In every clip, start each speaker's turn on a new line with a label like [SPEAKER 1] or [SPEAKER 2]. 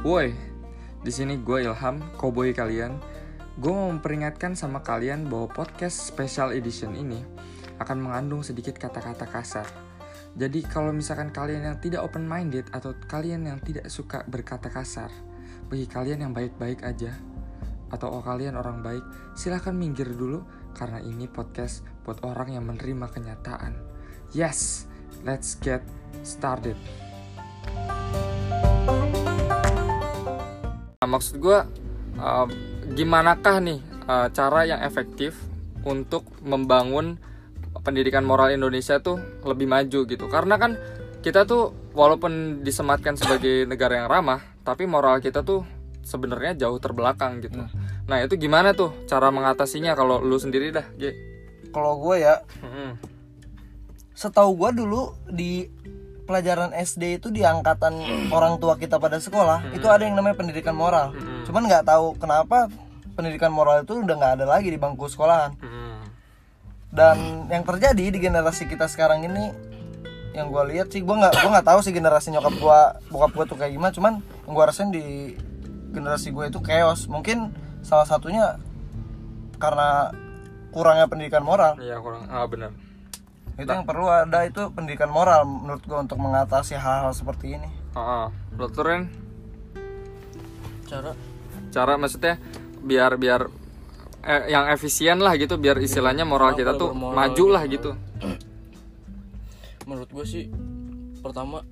[SPEAKER 1] Woi, di sini gue Ilham, koboi kalian. Gue mau memperingatkan sama kalian bahwa podcast special edition ini akan mengandung sedikit kata-kata kasar. Jadi kalau misalkan kalian yang tidak open minded atau kalian yang tidak suka berkata kasar, bagi kalian yang baik-baik aja atau kalian orang baik, silahkan minggir dulu karena ini podcast buat orang yang menerima kenyataan. Yes, let's get started. Nah, maksud gue, uh, gimanakah nih uh, cara yang efektif untuk membangun pendidikan moral Indonesia tuh lebih maju gitu? Karena kan kita tuh walaupun disematkan sebagai negara yang ramah, tapi moral kita tuh sebenarnya jauh terbelakang gitu. Nah itu gimana tuh cara mengatasinya kalau lu sendiri dah, Ge?
[SPEAKER 2] Kalau gue ya,
[SPEAKER 1] Mm-mm.
[SPEAKER 2] setahu gue dulu di pelajaran SD itu di angkatan orang tua kita pada sekolah itu ada yang namanya pendidikan moral.
[SPEAKER 1] Mm-mm.
[SPEAKER 2] Cuman nggak tahu kenapa pendidikan moral itu udah nggak ada lagi di bangku sekolahan.
[SPEAKER 1] Mm-mm.
[SPEAKER 2] Dan yang terjadi di generasi kita sekarang ini yang gue lihat sih gue nggak gue nggak tahu sih generasi nyokap gue bokap gue tuh kayak gimana. Cuman yang gue rasain di generasi gue itu chaos. Mungkin salah satunya karena kurangnya pendidikan moral.
[SPEAKER 1] Iya kurang, ah benar.
[SPEAKER 2] itu yang perlu ada itu pendidikan moral menurut gua untuk mengatasi hal-hal seperti ini
[SPEAKER 1] Ah, ah. Lu tuh, Ren,
[SPEAKER 2] cara
[SPEAKER 1] cara maksudnya biar biar eh, yang efisien lah gitu, biar istilahnya moral kita tuh maju lah gitu.
[SPEAKER 3] menurut gue sih pertama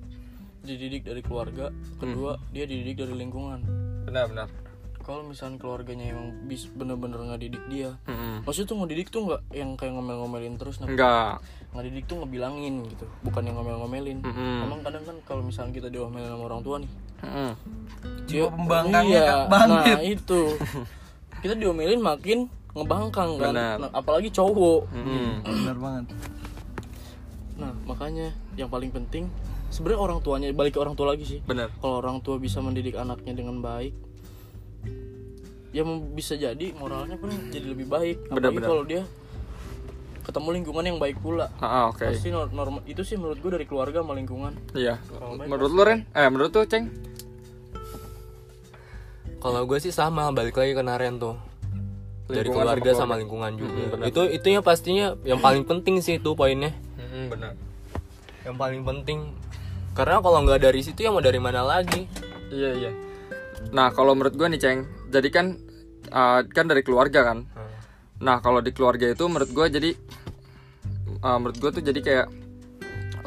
[SPEAKER 3] dididik dari keluarga kedua dia dididik dari lingkungan
[SPEAKER 1] Benar-benar.
[SPEAKER 3] kalau misalnya keluarganya emang bis bener-bener nggak didik dia maksudnya tuh ngedidik tuh nggak yang kayak ngomel-ngomelin terus
[SPEAKER 1] Hmm.
[SPEAKER 3] nah.
[SPEAKER 1] Enggak.
[SPEAKER 3] ngedidik tuh ngebilangin gitu bukan yang ngomel-ngomelin
[SPEAKER 1] Mm-mm.
[SPEAKER 3] emang kadang kan kalau misalnya kita diomelin sama orang tua nih
[SPEAKER 1] Mm-mm.
[SPEAKER 3] dia
[SPEAKER 2] pembangkangnya kan bangkit.
[SPEAKER 3] nah itu kita diomelin makin ngebangkang kan
[SPEAKER 1] Benar. Hmm.
[SPEAKER 3] Nah, apalagi cowok
[SPEAKER 1] Mm-mm.
[SPEAKER 2] benar banget
[SPEAKER 3] nah makanya yang paling penting sebenarnya orang tuanya balik ke orang tua lagi sih
[SPEAKER 1] Benar.
[SPEAKER 3] kalau orang tua bisa mendidik anaknya dengan baik ya mem- bisa jadi moralnya pun jadi lebih baik apalagi
[SPEAKER 1] Benar-benar.
[SPEAKER 3] kalau dia ketemu lingkungan yang baik pula
[SPEAKER 1] Ah, ah, oke.
[SPEAKER 3] pasti nor- norma- itu sih menurut gue dari keluarga sama lingkungan
[SPEAKER 1] Iya. Menurut lu Ren? Eh, menurut tuh Ceng?
[SPEAKER 4] Kalau gue sih sama, balik lagi ke Naren tuh.
[SPEAKER 1] Lingkungan
[SPEAKER 4] Dari
[SPEAKER 1] sama
[SPEAKER 4] keluarga sama
[SPEAKER 1] keluarga.
[SPEAKER 4] lingkungan juga.
[SPEAKER 1] Mm-mm, benar.
[SPEAKER 4] itu itunya pastinya yang paling penting sih itu poinnya.
[SPEAKER 1] Hmm, benar.
[SPEAKER 4] Yang paling penting. Karena kalau nggak dari situ ya mau dari mana lagi?
[SPEAKER 1] Iya iya. Nah kalau menurut gue nih ceng, jadi kan uh, kan dari keluarga kan. Nah kalau di keluarga itu menurut gue jadi uh, menurut gue tuh jadi kayak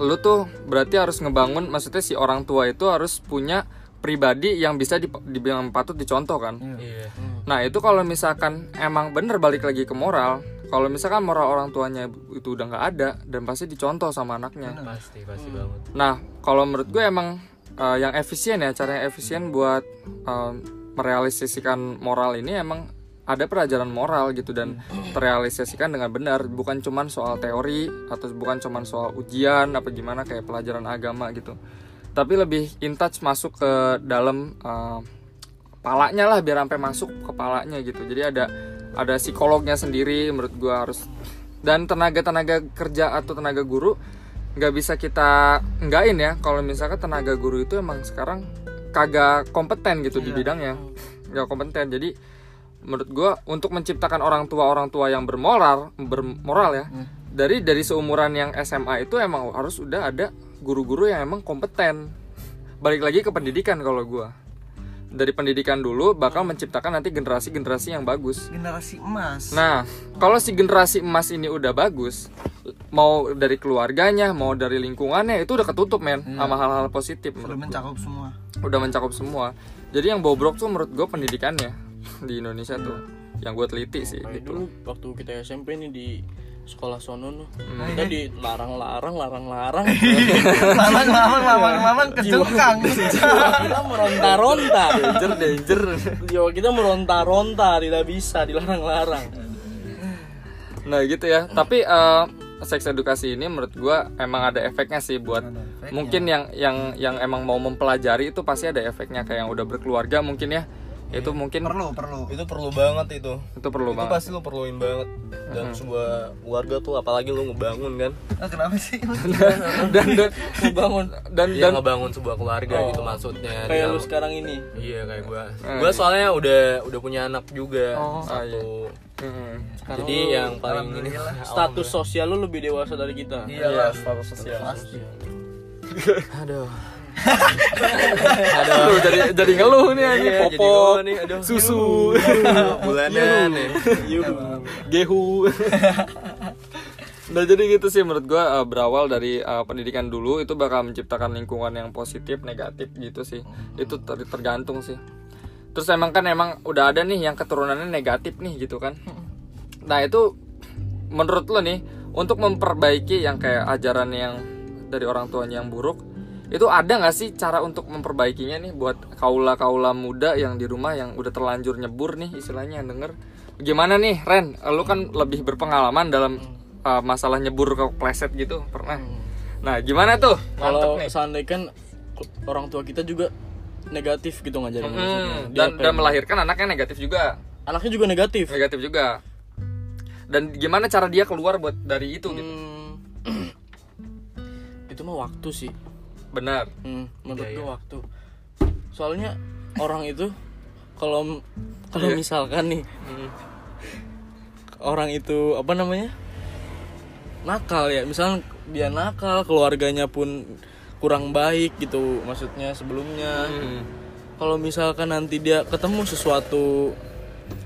[SPEAKER 1] lu tuh berarti harus ngebangun maksudnya si orang tua itu harus punya pribadi yang bisa dip- di, yang patut dicontoh kan.
[SPEAKER 4] Iya.
[SPEAKER 1] Nah itu kalau misalkan emang bener balik lagi ke moral, kalau misalkan moral orang tuanya itu udah nggak ada dan pasti dicontoh sama anaknya.
[SPEAKER 4] Pasti, pasti banget.
[SPEAKER 1] Nah, kalau menurut gue emang eh, yang efisien ya, cara yang efisien buat eh, merealisasikan moral ini emang ada pelajaran moral gitu dan terrealisasikan dengan benar, bukan cuman soal teori atau bukan cuman soal ujian apa gimana kayak pelajaran agama gitu. Tapi lebih in touch masuk ke dalam eh, kepalanya lah biar sampai masuk kepalanya gitu. Jadi ada ada psikolognya sendiri menurut gue harus dan tenaga-tenaga kerja atau tenaga guru nggak bisa kita enggain ya kalau misalkan tenaga guru itu emang sekarang kagak kompeten gitu di bidangnya nggak kompeten jadi menurut gua untuk menciptakan orang tua orang tua yang bermoral bermoral ya dari dari seumuran yang SMA itu emang harus udah ada guru-guru yang emang kompeten balik lagi ke pendidikan kalau gua dari pendidikan dulu bakal menciptakan nanti generasi-generasi yang bagus
[SPEAKER 2] generasi emas
[SPEAKER 1] Nah, kalau si generasi emas ini udah bagus, mau dari keluarganya, mau dari lingkungannya itu udah ketutup men sama hal-hal positif
[SPEAKER 2] udah
[SPEAKER 1] menurut
[SPEAKER 2] mencakup semua
[SPEAKER 1] gua. udah mencakup semua. Jadi yang bobrok tuh menurut gue pendidikannya di Indonesia tuh yang gue teliti sih
[SPEAKER 3] kayak
[SPEAKER 1] gitu.
[SPEAKER 3] dulu waktu kita SMP nih di sekolah sono nih
[SPEAKER 1] Hmm.
[SPEAKER 3] kita dilarang-larang larang-larang
[SPEAKER 2] lamang lamang lamang lamang kejengkang
[SPEAKER 3] kita meronta-ronta
[SPEAKER 1] Danger danger.
[SPEAKER 3] jiwa kita meronta-ronta tidak bisa dilarang-larang
[SPEAKER 1] Nah gitu ya. Tapi eh, seks edukasi ini menurut gue emang ada efeknya sih buat mungkin yang yang yang emang mau mempelajari itu pasti ada efeknya kayak yang udah berkeluarga mungkin ya itu mungkin
[SPEAKER 2] perlu perlu
[SPEAKER 4] itu Iya. perlu banget itu
[SPEAKER 1] itu perlu
[SPEAKER 4] itu
[SPEAKER 1] banget
[SPEAKER 4] pasti lu perluin banget dalam
[SPEAKER 1] Hmm.
[SPEAKER 4] sebuah keluarga tuh apalagi lu ngebangun kan
[SPEAKER 2] ah, kenapa sih
[SPEAKER 4] ya.
[SPEAKER 1] dan dan
[SPEAKER 3] bangun
[SPEAKER 1] dan,
[SPEAKER 4] dia
[SPEAKER 1] dan
[SPEAKER 4] ngebangun sebuah keluarga
[SPEAKER 1] Oh.
[SPEAKER 4] gitu maksudnya
[SPEAKER 3] kayak
[SPEAKER 4] Dia-
[SPEAKER 3] lu sekarang ini
[SPEAKER 4] iya kayak gua gua soalnya udah udah punya anak juga
[SPEAKER 1] Ah, Oh, ah, iya.
[SPEAKER 4] satu
[SPEAKER 1] Mm-mm.
[SPEAKER 4] jadi yang paling ini Iya,
[SPEAKER 3] status sosial lu lebih dewasa dari kita
[SPEAKER 2] iyalah
[SPEAKER 1] status sosial
[SPEAKER 2] pasti
[SPEAKER 4] aduh
[SPEAKER 1] aduh jadi jadi ngeluh nih anjing.
[SPEAKER 4] Iya, jadi
[SPEAKER 1] popok
[SPEAKER 4] ngeluh nih, aduh.
[SPEAKER 1] susu Iya,
[SPEAKER 4] bulanan ya
[SPEAKER 1] gehu nah jadi gitu sih menurut gua eh, berawal dari eh, pendidikan dulu itu bakal menciptakan lingkungan yang positif negatif gitu sih itu ter- tergantung sih terus emang kan emang udah ada nih yang keturunannya negatif nih gitu kan nah itu menurut lo nih untuk memperbaiki yang kayak ajaran yang dari orang tuanya yang buruk itu ada nggak sih cara untuk memperbaikinya nih buat kaula kaula muda yang di rumah yang udah terlanjur nyebur nih istilahnya yang denger gimana nih Ren lo kan lebih berpengalaman dalam
[SPEAKER 3] Hmm.
[SPEAKER 1] uh, masalah nyebur ke kleset gitu pernah nah gimana tuh
[SPEAKER 3] kalau seandainya kan orang tua kita juga negatif gitu ngajarin maksudnya.
[SPEAKER 1] Hmm,
[SPEAKER 3] Dia ya?
[SPEAKER 1] dan dan
[SPEAKER 3] pengen-
[SPEAKER 1] melahirkan anaknya negatif juga
[SPEAKER 3] anaknya juga negatif
[SPEAKER 1] negatif juga dan gimana cara dia keluar buat dari itu gitu
[SPEAKER 3] Hmm. itu mah waktu sih
[SPEAKER 1] benar
[SPEAKER 3] Hmm, menurut
[SPEAKER 1] Iya,
[SPEAKER 3] gue waktu. Soalnya orang itu kalau kalau
[SPEAKER 1] Iya.
[SPEAKER 3] misalkan nih
[SPEAKER 1] Hmm.
[SPEAKER 3] orang itu apa namanya nakal ya, misalnya dia nakal, keluarganya pun kurang baik gitu maksudnya sebelumnya. Kalau misalkan nanti dia ketemu sesuatu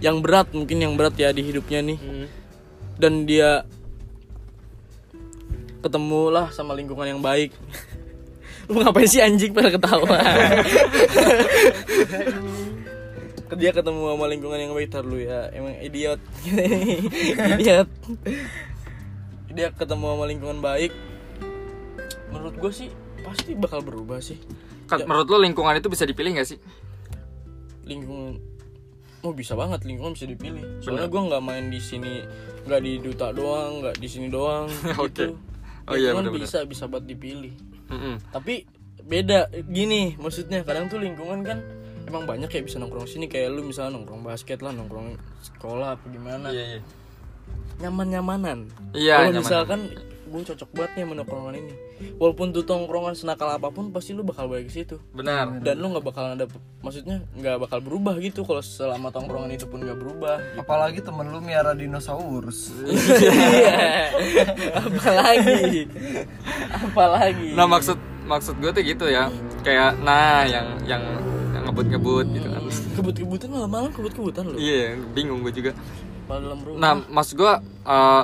[SPEAKER 3] yang berat mungkin yang berat ya di hidupnya nih dan dia ketemulah sama lingkungan yang baik lu ngapain sih anjing pada ketawa dia ketemu sama lingkungan yang baik tar lu ya emang idiot idiot dia ketemu sama lingkungan baik menurut gue sih pasti bakal berubah sih
[SPEAKER 1] Kan,
[SPEAKER 3] Ya.
[SPEAKER 1] menurut lo lingkungan itu bisa dipilih nggak sih
[SPEAKER 3] lingkungan oh bisa banget lingkungan bisa dipilih soalnya gue nggak main di sini nggak di duta doang nggak di sini doang
[SPEAKER 1] Oke.
[SPEAKER 3] gitu
[SPEAKER 1] Oh iya, Hmm,
[SPEAKER 3] Lingkungan
[SPEAKER 1] bener-bener.
[SPEAKER 3] bisa bisa buat dipilih
[SPEAKER 1] Mm-mm.
[SPEAKER 3] tapi beda gini maksudnya kadang tuh lingkungan kan emang banyak ya bisa nongkrong sini kayak lu misalnya nongkrong basket lah nongkrong sekolah apa gimana
[SPEAKER 1] Iya, iya.
[SPEAKER 3] nyaman nyamanan
[SPEAKER 1] Iya,
[SPEAKER 3] kalau
[SPEAKER 1] nyaman-nyaman.
[SPEAKER 3] misalkan gue cocok banget nih sama nongkrongan ini walaupun tuh tongkrongan senakal apapun pasti lu bakal balik ke situ
[SPEAKER 1] Benar.
[SPEAKER 3] dan lu nggak bakal ada maksudnya nggak bakal berubah gitu kalau selama tongkrongan itu pun nggak berubah
[SPEAKER 2] apalagi temen lu miara dinosaurus
[SPEAKER 3] iya apalagi apalagi
[SPEAKER 1] Nah, maksud maksud gue tuh gitu ya. Kayak nah yang yang yang ngebut-ngebut gitu kan.
[SPEAKER 3] kebut-kebutan malam malam kebut-kebutan lu
[SPEAKER 1] Iya, bingung gue juga.
[SPEAKER 3] Padahal dalam rumah
[SPEAKER 1] Nah, maksud gue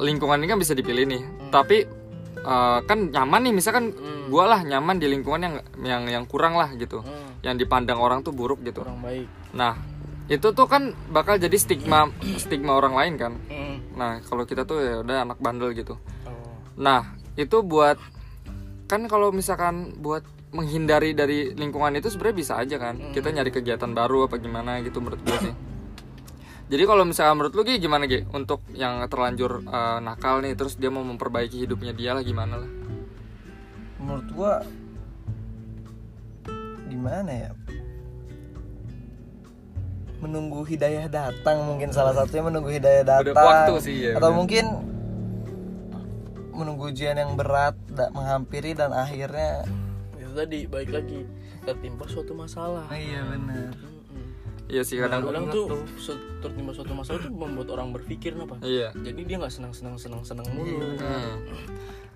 [SPEAKER 1] lingkungan ini kan bisa dipilih nih. Tapi eh, kan nyaman nih misalkan gue lah nyaman di lingkungan yang yang yang kurang lah gitu.
[SPEAKER 3] Hmm.
[SPEAKER 1] Yang dipandang orang tuh buruk gitu.
[SPEAKER 3] orang baik
[SPEAKER 1] Nah, itu tuh kan bakal jadi stigma stigma orang lain kan.
[SPEAKER 3] Hmm.
[SPEAKER 1] Nah, kalau kita tuh ya udah anak bandel gitu.
[SPEAKER 3] Oh.
[SPEAKER 1] Nah, itu buat kan kalau misalkan buat menghindari dari lingkungan itu sebenarnya bisa aja kan. Kita nyari kegiatan baru apa gimana gitu menurut gue sih. Jadi kalau misalkan menurut lu Gi, gimana Gi? Untuk yang terlanjur eh, nakal nih terus dia mau memperbaiki hidupnya dia lah gimana lah.
[SPEAKER 2] menurut gua gimana ya menunggu hidayah datang mungkin salah satunya menunggu hidayah datang
[SPEAKER 1] waktu sih, ya,
[SPEAKER 2] atau
[SPEAKER 1] bener.
[SPEAKER 2] mungkin menunggu ujian yang berat da- menghampiri dan akhirnya
[SPEAKER 3] itu tadi baik lagi tertimpa suatu masalah
[SPEAKER 2] iya benar
[SPEAKER 4] Hmm.
[SPEAKER 1] Iya sih kadang
[SPEAKER 3] kadang tuh se- tertimpa suatu masalah itu membuat orang berpikir apa
[SPEAKER 1] Iya.
[SPEAKER 3] jadi dia nggak senang senang senang senang mulu Nah,
[SPEAKER 1] Hmm.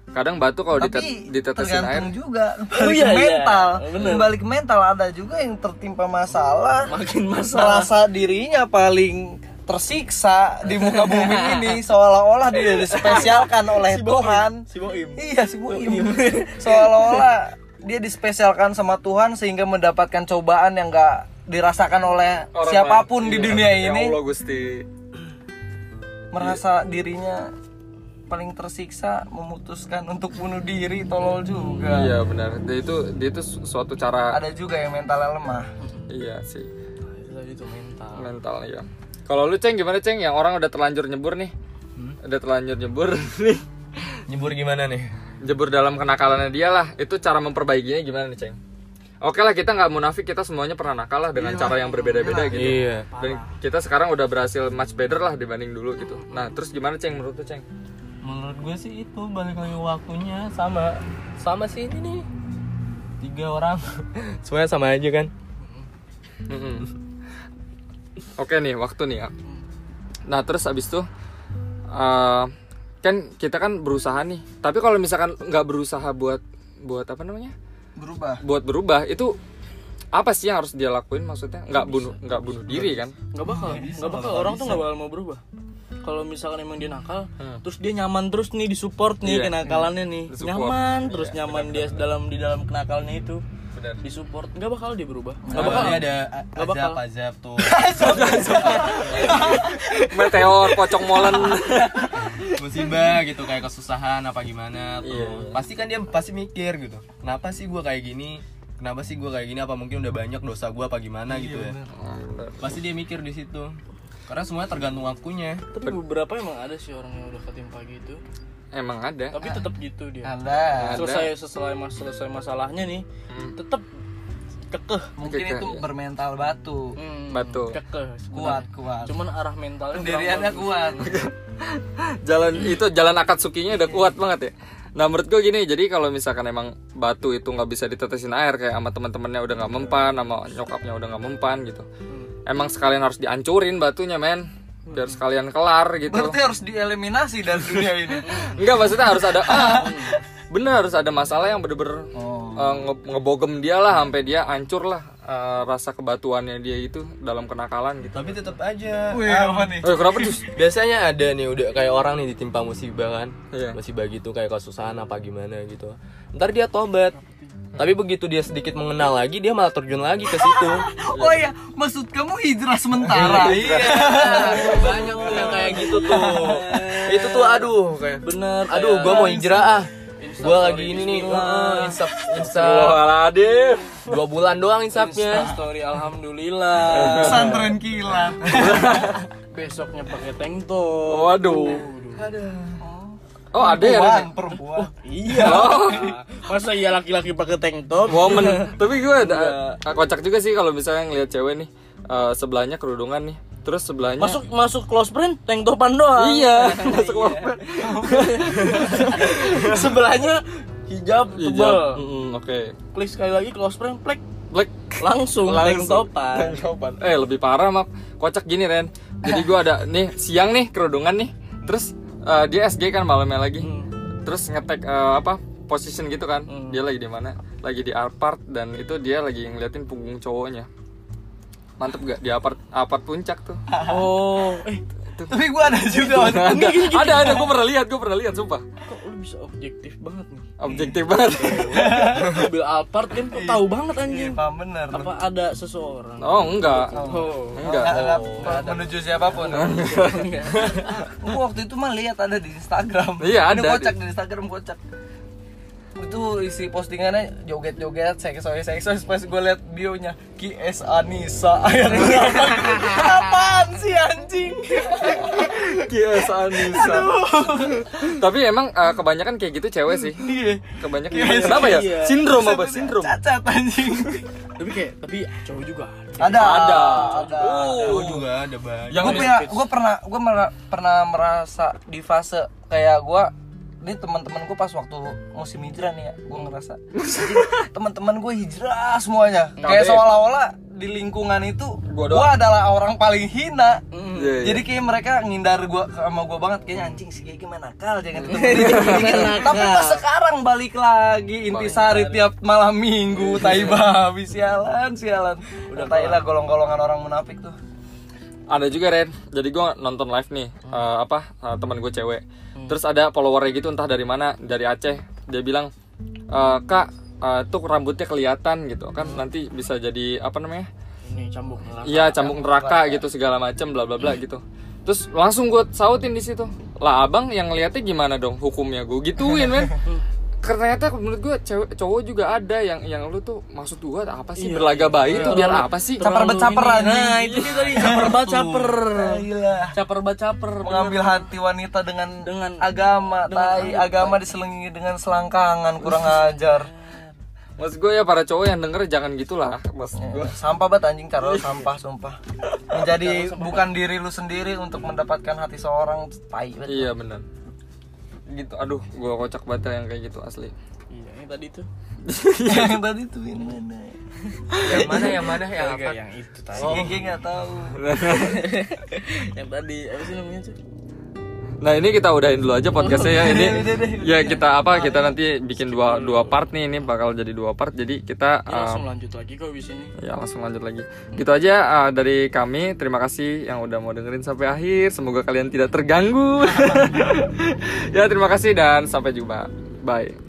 [SPEAKER 1] Kadang batu kalau ditet
[SPEAKER 2] tapi
[SPEAKER 1] ditetesin air
[SPEAKER 2] tergantung juga kembali
[SPEAKER 3] Oh, iya,
[SPEAKER 2] ke
[SPEAKER 3] iya.
[SPEAKER 2] mental
[SPEAKER 3] Bener.
[SPEAKER 2] kembali ke mental ada juga yang tertimpa masalah
[SPEAKER 3] makin masalah
[SPEAKER 2] merasa dirinya paling tersiksa di muka bumi ini seolah-olah dia dispesialkan oleh Tuhan.
[SPEAKER 3] si boim
[SPEAKER 2] Iya si Buim. seolah-olah dia dispesialkan sama Tuhan sehingga mendapatkan cobaan yang gak dirasakan oleh
[SPEAKER 1] Orang
[SPEAKER 2] siapapun
[SPEAKER 1] lain.
[SPEAKER 2] di
[SPEAKER 1] Iya.
[SPEAKER 2] dunia
[SPEAKER 1] Ya
[SPEAKER 2] ini
[SPEAKER 1] Allah Gusti.
[SPEAKER 2] merasa dirinya paling tersiksa memutuskan untuk bunuh diri tolol juga
[SPEAKER 1] Iya benar. Dia itu dia itu su- suatu cara
[SPEAKER 2] ada juga yang mentalnya lemah
[SPEAKER 1] iya sih.
[SPEAKER 3] itu tadi tuh mental
[SPEAKER 1] mental ya kalau lu ceng gimana ceng yang orang udah terlanjur nyebur nih
[SPEAKER 2] Hmm?
[SPEAKER 1] udah terlanjur nyebur nih
[SPEAKER 4] nyebur gimana nih
[SPEAKER 1] nyebur dalam kenakalannya dia lah itu cara memperbaikinya gimana nih ceng Oke lah kita nggak munafik kita semuanya pernah nakal lah
[SPEAKER 2] Iya.
[SPEAKER 1] dengan cara yang berbeda-beda gitu.
[SPEAKER 4] Iya.
[SPEAKER 1] Dan kita sekarang udah berhasil much better lah dibanding dulu gitu. Nah terus gimana ceng menurut lu ceng?
[SPEAKER 4] Menurut gue sih itu balik lagi waktunya sama sama sih ini nih tiga orang semuanya sama aja kan
[SPEAKER 1] Mm-mm. Oke nih waktu nih ya. Nah terus abis itu eh, kan kita kan berusaha nih. Tapi kalau misalkan nggak berusaha buat buat apa namanya?
[SPEAKER 2] berubah
[SPEAKER 1] Buat berubah itu apa sih yang harus dia lakuin maksudnya? Nggak bunuh nggak bunuh diri kan?
[SPEAKER 3] nggak bakal nggak bakal orang tuh nggak bakal mau berubah kalau misalkan emang dia nakal
[SPEAKER 4] Hmm.
[SPEAKER 3] terus dia nyaman terus nih disupport nih
[SPEAKER 1] Iya.
[SPEAKER 3] kenakalannya nih
[SPEAKER 1] Disupport.
[SPEAKER 3] nyaman
[SPEAKER 4] Iya.
[SPEAKER 3] terus nyaman dia dalam di dalam kenakalannya itu
[SPEAKER 1] Benar.
[SPEAKER 3] disupport nggak bakal dia berubah nggak bakal
[SPEAKER 5] Soalnya ada a-
[SPEAKER 3] Nggak bakal.
[SPEAKER 5] azab azab tuh
[SPEAKER 1] Meteor, pocong molen.
[SPEAKER 5] musibah gitu kayak kesusahan apa gimana tuh
[SPEAKER 3] Iya.
[SPEAKER 5] pasti kan dia pasti mikir gitu kenapa sih gua kayak gini kenapa sih gua kayak gini apa mungkin udah banyak dosa gua apa
[SPEAKER 3] Iya,
[SPEAKER 5] gimana gitu ya pasti dia mikir di situ karena semuanya tergantung waktunya
[SPEAKER 3] tapi beberapa emang ada sih orang yang udah ketimpa gitu
[SPEAKER 1] Emang ada.
[SPEAKER 3] tapi tetap gitu dia
[SPEAKER 2] anda
[SPEAKER 3] selesai selesai mas selesai masalahnya nih
[SPEAKER 4] Hmm.
[SPEAKER 3] tetap kekeh
[SPEAKER 2] mungkin
[SPEAKER 1] Oke,
[SPEAKER 2] itu
[SPEAKER 1] iya.
[SPEAKER 2] bermental batu
[SPEAKER 3] Hmm,
[SPEAKER 1] Betul.
[SPEAKER 3] kekeh
[SPEAKER 2] kuat kuat
[SPEAKER 1] kan
[SPEAKER 3] cuman arah mentalnya
[SPEAKER 2] pendiriannya
[SPEAKER 3] kurang
[SPEAKER 2] kuat
[SPEAKER 1] jalan itu jalan akad sukinya udah kuat banget ya nah menurut gue gini jadi kalau misalkan emang batu itu nggak bisa ditetesin air kayak sama teman-temannya udah nggak mempan sama nyokapnya udah nggak mempan gitu emang sekalian harus dihancurin batunya men biar sekalian kelar gitu
[SPEAKER 2] berarti harus dieliminasi dari dunia ini
[SPEAKER 1] Enggak maksudnya harus ada ah, bener harus ada masalah yang bener-bener eh, nge- ngebogem dia lah sampai dia hancur lah eh, rasa kebatuannya dia itu dalam kenakalan gitu
[SPEAKER 5] tapi tetap aja
[SPEAKER 2] wih apa nih
[SPEAKER 1] eh, kenapa tuh
[SPEAKER 4] biasanya ada nih udah kayak orang nih ditimpa musibah kan
[SPEAKER 1] Iya.
[SPEAKER 4] musibah gitu kayak kesusahan apa gimana gitu ntar dia tobat tapi begitu dia sedikit mengenal lagi dia malah terjun lagi ke situ
[SPEAKER 2] oh iya maksud kamu hijrah sementara
[SPEAKER 1] Iya.
[SPEAKER 4] banyak tuh yang kayak gitu tuh itu tuh aduh kayak
[SPEAKER 3] bener
[SPEAKER 4] aduh gua mau hijrah ah gua lagi ini nih heeh, insaf insaf
[SPEAKER 1] Waladif
[SPEAKER 4] dua bulan doang insafnya
[SPEAKER 3] story alhamdulillah
[SPEAKER 2] pesantren kilat
[SPEAKER 3] besoknya pakai tank top
[SPEAKER 1] waduh oh ada ya Ren?
[SPEAKER 2] perempuan perempuan
[SPEAKER 3] iya masa iya laki-laki pakai tank top
[SPEAKER 1] woman tapi gue ada ah, kocak juga sih kalau misalnya ngeliat cewek nih eh, sebelahnya kerudungan nih terus sebelahnya
[SPEAKER 3] masuk masuk close friend tank topan doang
[SPEAKER 1] iya masuk woman
[SPEAKER 3] sebelahnya hijab tebal
[SPEAKER 1] hijab Mm, oke
[SPEAKER 3] klik sekali lagi close friend plek
[SPEAKER 1] black
[SPEAKER 3] langsung, tank
[SPEAKER 1] Langsung.
[SPEAKER 3] topan
[SPEAKER 1] eh lebih parah mak kocak gini Ren jadi gue ada nih siang nih kerudungan nih terus eh, dia SG kan malamnya lagi terus ngetek eh, apa position gitu kan dia lagi di mana lagi di apart dan itu dia lagi ngeliatin punggung cowoknya mantep gak di apart apart puncak tuh
[SPEAKER 3] oh eh
[SPEAKER 2] tapi gua ada juga Wan.
[SPEAKER 1] ada ada ada gue pernah lihat gue pernah lihat sumpah
[SPEAKER 3] kok lu bisa objektif banget nih
[SPEAKER 1] objektif banget
[SPEAKER 3] mobil Alphard kan kok tahu banget
[SPEAKER 2] iya
[SPEAKER 3] anjing
[SPEAKER 2] paham bener
[SPEAKER 3] apa ada seseorang
[SPEAKER 1] oh enggak
[SPEAKER 3] oh
[SPEAKER 1] enggak
[SPEAKER 2] Nggak- nggak menuju siapapun Gua waktu itu mah lihat ada di Instagram
[SPEAKER 1] Iya, ada
[SPEAKER 2] Ini kocak di Instagram kocak itu isi postingannya joget-joget seksoy seksoy pas gue liat bionya KS Anissa Ayat berapa? apaan sih anjing
[SPEAKER 1] Kias Anissa tapi emang eh, kebanyakan kayak gitu cewek sih kebanyakan kenapa ya
[SPEAKER 3] Iya.
[SPEAKER 1] sindrom apa sindrom
[SPEAKER 2] cacat anjing
[SPEAKER 3] tapi kayak tapi cowok juga ada.
[SPEAKER 2] ada
[SPEAKER 1] Ada. Oh,
[SPEAKER 2] ada
[SPEAKER 5] Gua juga ada banyak
[SPEAKER 1] yang
[SPEAKER 2] gue punya gue pernah gue pernah merasa di fase kayak gue ini teman-teman gue pas waktu musim hijrah nih ya gue ngerasa Jadi, teman-teman gue hijrah semuanya kayak
[SPEAKER 1] Kabeh.
[SPEAKER 2] seolah-olah di lingkungan itu
[SPEAKER 1] Gua
[SPEAKER 2] gue
[SPEAKER 1] doang.
[SPEAKER 2] adalah orang paling hina
[SPEAKER 1] Iya, iya.
[SPEAKER 2] jadi kayak mereka ngindar gua sama gue banget kayaknya anjing sih kayak gimana nakal jangan ketemu dia, gini, gini. tapi pas sekarang balik lagi intisari tiap malam minggu taiba habis sialan sialan udah tai lah golong-golongan orang munafik tuh
[SPEAKER 1] ada juga Ren jadi gue nonton live nih eh, apa eh, teman gue cewek terus ada followernya gitu entah dari mana dari Aceh dia bilang eh, kak eh, tuh rambutnya kelihatan gitu kan nanti bisa jadi apa namanya
[SPEAKER 3] ini cambuk neraka
[SPEAKER 1] Iya cambuk neraka gitu segala macam bla bla bla gitu. Terus langsung gue sautin di situ. Lah abang yang lihatnya gimana dong hukumnya gue gituin men. Ternyata menurut gue cewek- cowok juga ada yang yang lu tuh maksud gue apa sih berlaga bayi tuh biar apa sih?
[SPEAKER 2] caper becaperan
[SPEAKER 3] nah itu dia tadi caper banget caper
[SPEAKER 2] Gila.
[SPEAKER 3] caper banget caper
[SPEAKER 2] mengambil hati wanita dengan
[SPEAKER 3] Dengan-
[SPEAKER 2] agama tai agama diselingi dengan selangkangan kurang ajar
[SPEAKER 1] Maksud gue ya para cowok yang denger jangan gitulah maksud gue.
[SPEAKER 2] sampah banget anjing taruh sampah sumpah menjadi bukan diri lu sendiri untuk mendapatkan hati seorang tai banget.
[SPEAKER 1] Iya benar. Gitu, aduh, gue kocak banget yang kayak gitu asli.
[SPEAKER 3] Iya, ini tadi tuh. Iya.
[SPEAKER 2] yang tadi tuh yang mana
[SPEAKER 1] Yang mana yang mana yang apa?
[SPEAKER 3] yang itu tadi.
[SPEAKER 2] si Gigi Iya, nggak tahu
[SPEAKER 3] Oh, yang tadi apa sih namanya tuh?
[SPEAKER 1] Nah ini kita udahin dulu aja podcastnya ya ini ya kita apa kita nanti bikin dua dua part nih ini bakal jadi dua part jadi kita
[SPEAKER 3] Ini langsung
[SPEAKER 1] um,
[SPEAKER 3] lanjut lagi kok abis ini.
[SPEAKER 1] ya langsung lanjut lagi gitu aja uh, dari kami terima kasih yang udah mau dengerin sampai akhir semoga kalian tidak terganggu ya terima kasih dan sampai jumpa bye